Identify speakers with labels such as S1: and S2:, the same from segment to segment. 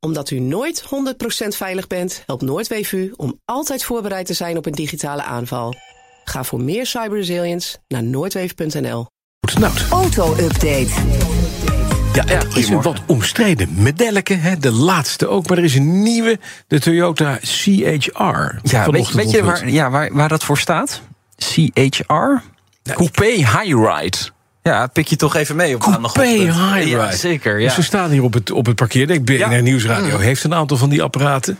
S1: Omdat u nooit 100% veilig bent, helpt NoordWV u om altijd voorbereid te zijn op een digitale aanval. Ga voor meer cyberresilience naar noordweef.nl.
S2: Snout.
S3: Auto-update.
S2: nou? Ja, er is een wat omstreden medelke, hè, de laatste ook. Maar er is een nieuwe, de Toyota CHR.
S4: Ja, weet,
S2: Vanochtend
S4: weet je
S2: onthuld.
S4: waar, ja, waar, waar dat voor staat? CHR?
S5: Coupé high-ride.
S4: Ja, pik je toch even mee op
S2: Coupé
S4: maandagochtend.
S2: high
S4: Ja, zeker. Ja.
S2: Ze staan hier op het, op het parkeerdek. BNR
S4: Ja. Mm.
S2: Nieuwsradio heeft een aantal van die apparaten.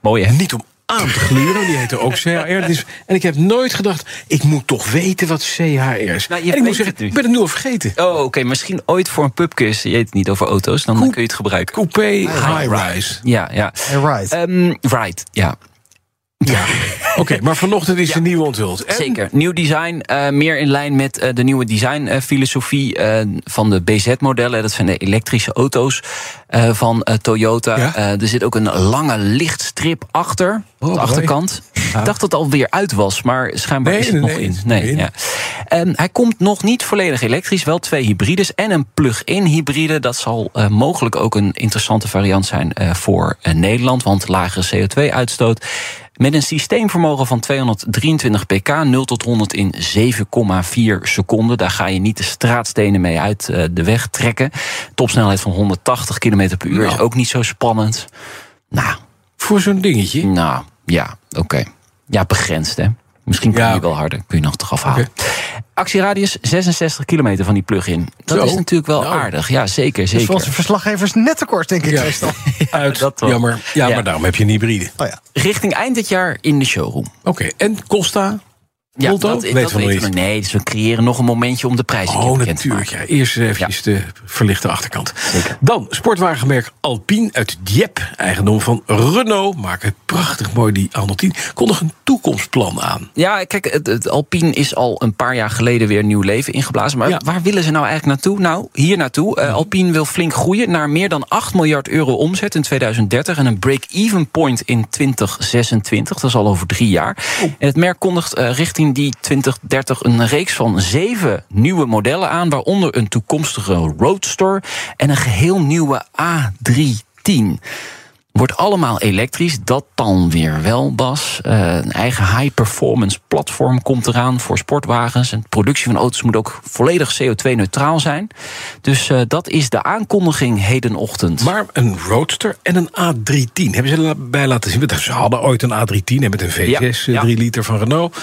S4: Mooi, hè?
S2: Niet om aan te gluren, die heten ook CHR. Dus, en ik heb nooit gedacht, ik moet toch weten wat CHR is.
S4: Nou, je
S2: en ik
S4: weet
S2: moet zeggen,
S4: het nu.
S2: ik ben het nu al vergeten.
S4: Oh, oké. Misschien ooit voor een pubquiz. Je weet het niet over auto's. Dan kun je het gebruiken.
S2: Coupé high-rise.
S4: Ja, ja.
S6: Right.
S4: Ehm, right, ja.
S2: Oké, maar vanochtend is de nieuwe onthuld. En
S4: Zeker. Nieuw design, eh, meer in lijn met eh, de nieuwe designfilosofie van de BZ-modellen. Dat zijn de elektrische auto's eh, van eh, Toyota.
S2: Ja. Oh,
S4: Eh, er zit ook een lange lichtstrip achter, op
S2: mooi.
S4: de achterkant. Ik dacht dat het alweer uit was, maar schijnbaar
S2: Nee,
S4: is het
S2: nee,
S4: nog
S2: nee,
S4: in.
S2: het is
S4: Nee,
S2: nog in.
S4: ja. Ehm, hij komt nog niet volledig elektrisch, wel twee hybrides en een plug-in hybride. Dat zal eh, mogelijk ook een interessante variant zijn eh, voor eh, Nederland, want lagere CO2-uitstoot. Met een systeemvermogen van 223 pk, 0 tot 100 in 7,4 seconden. Daar ga je niet de straatstenen mee uit eh, de weg trekken. Topsnelheid van 180 km per uur is ook niet zo spannend. Nou,
S2: voor zo'n dingetje.
S4: nou, ja, oké. Ja, begrensd, hè. Misschien kun je
S2: Ja,
S4: wel harder, kun je nog toch afhalen. Actieradius 66 kilometer van die plug-in. Dat
S2: Zo.
S4: is natuurlijk wel
S2: Nou.
S4: aardig. Ja, zeker,
S6: Dus voor onze
S4: zeker.
S6: verslaggevers net te kort, denk ik.
S2: Ja.
S6: Tristan.
S2: Uit,
S4: dat wel.
S2: jammer. Ja,
S4: Ja.
S2: maar daarom heb je een hybride.
S6: Oh ja.
S4: Richting eind dit jaar in de showroom.
S2: Oké, en Costa?
S4: Ja,
S2: Volto?
S4: dat,
S2: Weten we nog
S4: weten we
S2: niet.
S4: nog. Nee, dus we creëren nog een momentje om de prijzen een
S2: Oh,
S4: keer bekend te
S2: natuurlijk.
S4: maken.
S2: Ja. Eerst eventjes de verlichte achterkant. Dan sportwagenmerk Alpine uit Dieppe, eigendom van Renault. Maken prachtig mooi die Arnold 10. Kondig een toekomstplan aan.
S4: Ja, kijk, het, het Alpine is al een paar jaar geleden weer nieuw leven ingeblazen. Maar
S2: Ja.
S4: waar willen ze nou eigenlijk naartoe? Nou, hier naartoe. Eh, Alpine wil flink groeien naar meer dan 8 miljard euro omzet in 2030 en een break-even point in 2026. Dat is al over drie jaar. En het merk kondigt eh, richting die 2030 een reeks van zeven nieuwe modellen aan, waaronder een toekomstige Roadster en een geheel nieuwe A310. Wordt allemaal elektrisch, dat dan weer wel, Bas. Eh, een eigen high-performance platform komt eraan voor sportwagens. En de productie van auto's moet ook volledig CO2-neutraal zijn. Dus eh, dat is de aankondiging hedenochtend.
S2: Maar een Roadster en een A310 hebben ze erbij laten zien. Want Ze hadden ooit een A310 hè, met een V6
S4: Ja,
S2: eh,
S4: ja.
S2: 3 liter van Renault.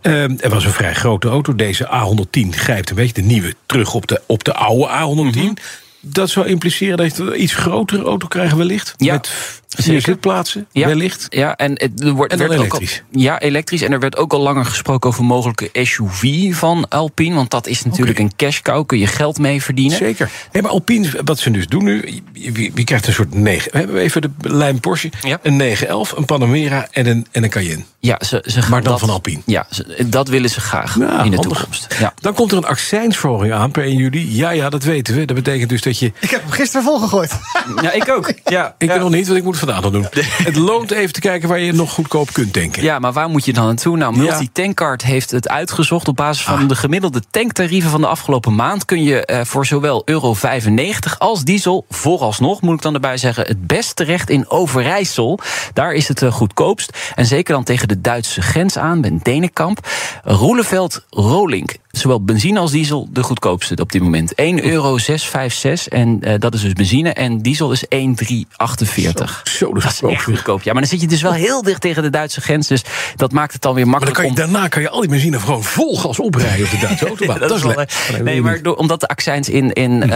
S2: Ehm het was een vrij grote auto. Deze A110 grijpt een beetje de nieuwe terug op de, op de oude A110.
S4: Mhm.
S2: Dat zou impliceren dat je een iets grotere auto krijgt wellicht.
S4: Ja,
S2: met vier
S4: zeker.
S2: zitplaatsen wellicht.
S4: Ja, en het er wordt
S2: En dan
S4: werd ook al-
S2: elektrisch.
S4: ja, elektrisch. En er werd ook al langer gesproken over mogelijke SUV van Alpine. Want dat is natuurlijk
S2: Oké.
S4: een cash cow, kun je geld mee verdienen.
S2: Zeker. Nee, maar Alpine, wat ze dus doen nu, je, je- je krijgt een soort 9. We hebben even de lijn Porsche,
S4: Ja.
S2: een 911, een Panamera en een, en een Cayenne.
S4: Ja, ze, ze gaan
S2: Maar dan
S4: dat-
S2: van Alpine.
S4: Ja, ze- dat willen ze graag
S2: Nou,
S4: in de
S2: handig.
S4: toekomst. Ja.
S2: Dan komt er een accijnsverhoging aan per 1 juli. Ja, ja, dat weten we. Dat betekent dus dat je...
S6: Ik heb hem gisteren volgegooid.
S4: ja, ik ook. Ja,
S2: Ik ben nog niet, want ik moet het vandaag nog doen. Het loont even te kijken waar je nog goedkoop kunt denken.
S4: Ja, maar waar moet je dan naartoe? Nou,
S2: Ja. Ah.
S4: Multitankcard heeft het uitgezocht. Op basis van de gemiddelde tanktarieven van de afgelopen maand... kun je eh, voor zowel euro 95 als diesel vooralsnog, moet ik dan erbij zeggen... het best terecht in Overijssel. Daar is het eh, goedkoopst. En zeker dan tegen de Duitse grens aan, bij Denenkamp. Roeleveld Rolink. Zowel benzine als diesel de goedkoopste op dit moment. 1,656 euro. En eh, dat is dus benzine. En diesel is 1,348.
S2: Zo, dat is ook
S4: Echt
S2: weer.
S4: goedkoop. Ja, maar dan zit je dus wel heel dicht tegen de Duitse grens. Dus dat maakt het dan weer
S2: Maar dan
S4: makkelijk
S2: kan je,
S4: om.
S2: daarna kan je al die benzine gewoon vol gas oprijden op de Duitse autobahn. dat, is
S4: wel-
S2: lekker. Mhm.
S4: Nee, maar door- omdat de accijns in, in eh,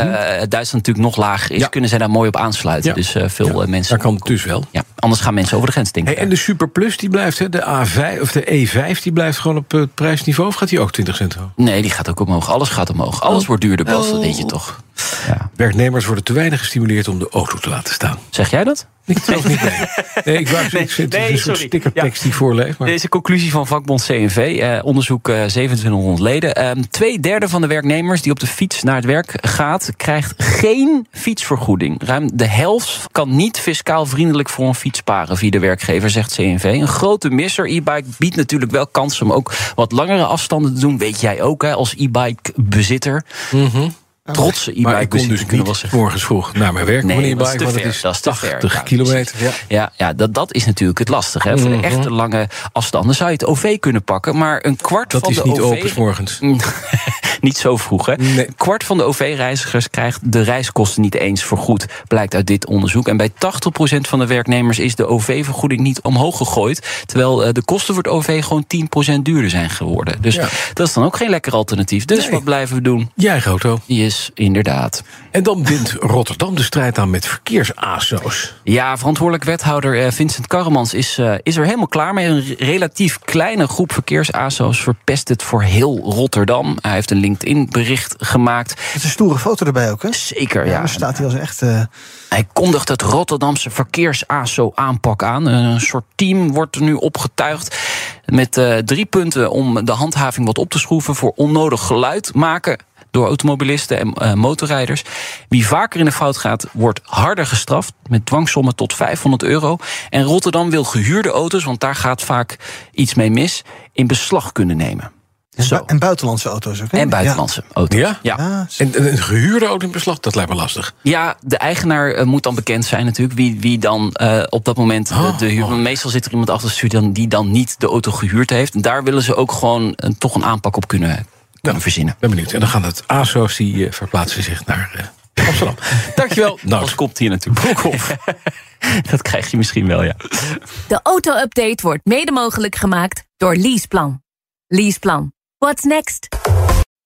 S4: Duitsland natuurlijk nog lager is,
S2: Ja.
S4: kunnen zij daar mooi op aansluiten.
S2: Ja.
S4: Dus eh, veel eh, mensen.
S2: Daar kan het dus wel.
S4: Ja, anders gaan mensen over de grens denken.
S2: Hey, en de Super Plus die blijft, hè, de, A5, of de E5, die blijft gewoon op het prijsniveau. Of gaat die ook 20 cent hoog?
S4: Nee, die gaat ook omhoog. Alles gaat omhoog. Alles
S2: Oh.
S4: wordt duurder, Bas. Dat weet je toch? Ja.
S2: Werknemers worden te weinig gestimuleerd om de auto te laten staan.
S4: Zeg jij dat?
S2: Ik geloof niet mee. Nee, ik wou nee, het is
S4: nee,
S2: een soort
S4: sorry.
S2: stickertekst die ik voorlees. Maar
S4: Deze conclusie van vakbond CNV, eh, onderzoek eh 2700 leden. Ehm, twee derde van de werknemers die op de fiets naar het werk gaat, krijgt geen fietsvergoeding. Ruim de helft kan niet fiscaal vriendelijk voor een fiets sparen via de werkgever, zegt CNV. Een grote misser. E-bike biedt natuurlijk wel kansen om ook wat langere afstanden te doen. Weet jij ook, hè, als e-bike bezitter. trotse e-bike.
S2: Mhm. Maar ik kon
S4: bezit,
S2: dus
S4: kunnen
S2: niet
S4: we wel zeggen.
S2: morgens vroeg naar mijn werk.
S4: Nee,
S2: meneer
S4: dat is
S2: Bijk,
S4: te
S2: want
S4: ver,
S2: het is
S4: dat is te ver,
S2: 80
S4: ja,
S2: kilometer. Ja.
S4: Ja, ja dat, dat is natuurlijk het lastige. Hè. Voor
S2: Mhm.
S4: de echte lange afstanden zou je het OV kunnen pakken. Maar een kwart
S2: Dat
S4: van
S2: is
S4: de Mm.
S2: niet
S4: OV...
S2: open 's morgens.
S4: niet zo vroeg, hè?
S2: Nee.
S4: Een kwart van de OV-reizigers krijgt de reiskosten niet eens vergoed, blijkt uit dit onderzoek. En bij 80% van de werknemers is de OV-vergoeding niet omhoog gegooid, terwijl eh, de kosten voor het OV gewoon 10% duurder zijn geworden. Dus
S2: Ja.
S4: dat is dan ook geen lekker alternatief. Dus
S2: Nee.
S4: wat blijven we doen?
S2: Jij, Goto.
S4: Die is inderdaad.
S2: En dan wint Rotterdam de strijd aan met verkeersaso's.
S4: Ja, verantwoordelijk wethouder eh, Vincent Karremans is, eh, is er helemaal klaar mee. Een relatief kleine groep verkeersaso's verpest het voor heel Rotterdam. Hij heeft een LinkedIn-bericht gemaakt.
S6: Het is een stoere foto erbij ook, hè?
S4: Zeker, ja.
S6: Daar staat hij als echt... eh,
S4: Hij kondigt het Rotterdamse verkeers-ASO-aanpak aan. Een soort team wordt er nu opgetuigd met eh, drie punten om de handhaving wat op te schroeven voor onnodig geluid maken door automobilisten en eh, motorrijders. Wie vaker in de fout gaat, wordt harder gestraft met dwangsommen tot 500 euro. En Rotterdam wil gehuurde auto's, want daar gaat vaak iets mee mis, in beslag kunnen nemen. Zo.
S6: bu- en buitenlandse auto's ook, hè?
S4: En buitenlandse auto's.
S2: Ja?
S4: Ja.
S6: Ja. Ah, Ja,
S2: En, en een gehuurde auto in beslag, dat lijkt me lastig.
S4: Ja, de eigenaar eh, moet dan bekend zijn natuurlijk. Wie, wie dan eh, op dat moment eh, de huur... want Meestal zit er iemand achter de stuur dan- die dan niet de auto gehuurd heeft. En daar willen ze ook gewoon een, toch een aanpak op kunnen, kunnen verzinnen.
S2: Ben benieuwd. En dan gaan het ASO's die eh, verplaatsen zich naar eh, Amsterdam. Dankjewel. Nou,
S4: Als komt hier natuurlijk. dat krijg je misschien wel, ja.
S3: De auto-update wordt mede mogelijk gemaakt door Leaseplan. Leaseplan. What's next?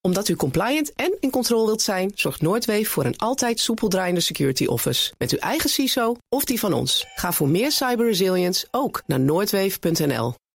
S1: Omdat u compliant en in controle wilt zijn, zorgt Noordwave voor een altijd soepel draaiende security office. Met uw eigen CISO of die van ons. Ga voor meer cyber resilience ook naar noordwave.nl.